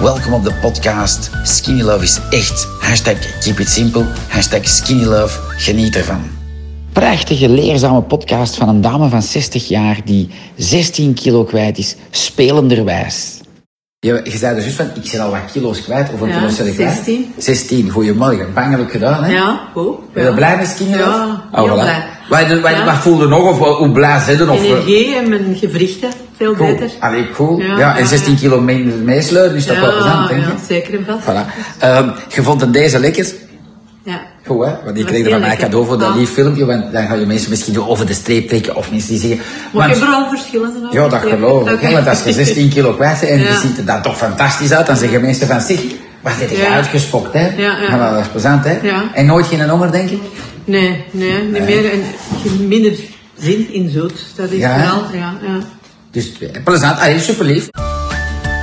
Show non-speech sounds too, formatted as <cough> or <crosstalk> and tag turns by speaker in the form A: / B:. A: Welkom op de podcast. Skinny Love is echt. Hashtag keep it simple. Hashtag skinny love. Geniet ervan. Prachtige, leerzame podcast van een dame van 60 jaar die 16 kilo kwijt is, spelenderwijs. Ja, je zei dus juist van, ik zit al wat kilo's kwijt. Of een
B: Ja,
A: kilo zit ik kwijt.
B: 16.
A: 16, goeiemorgen. Bangelijk gedaan, hè?
B: Ja, ook.
A: Ben je
B: ja.
A: blij met Skinny Love? Oh,
B: Ja, heel blij.
A: Wat, wat,
B: Ja.
A: wat voelde nog? Of eh, hoe blij zitten? Of, eh,
B: Energie en mijn gewrichten, veel
A: Cool.
B: beter.
A: Allee, cool. Ja,
B: Ja,
A: en
B: ja,
A: 16 kilo minder meesleuren is dat wel plezant, denk
B: ja,
A: ik.
B: zeker en vast.
A: Voilà. Ehm, je vond het deze lekker?
B: Ja.
A: Goed, hè? Want ik
B: was
A: kreeg er
B: heel
A: van mij
B: lekker.
A: cadeau voor dat
B: Ah.
A: lief filmpje, want dan gaan je mensen misschien door over de streep trekken of mensen die zeggen...
B: Maar
A: want-
B: je hebt er al verschillen. zijn al
A: ja, dat
B: verschillen.
A: geloof ik.
B: Oké.
A: hè, Want als je 16 kilo kwijt bent en je
B: Ja.
A: ziet er dan toch fantastisch uit, dan zeggen mensen van zich, wat zit je
B: Ja.
A: uitgespokt, hè?
B: Ja, ja.
A: Maar dat is plezant, hè?
B: Ja.
A: En nooit geen honger, denk ik?
B: <laughs> Nee, nee, niet meer. En je hebt minder zin in zoet. Dat is
A: Ja, hè?
B: wel, ja, ja.
A: Dus eh, plezant, allee, super lief.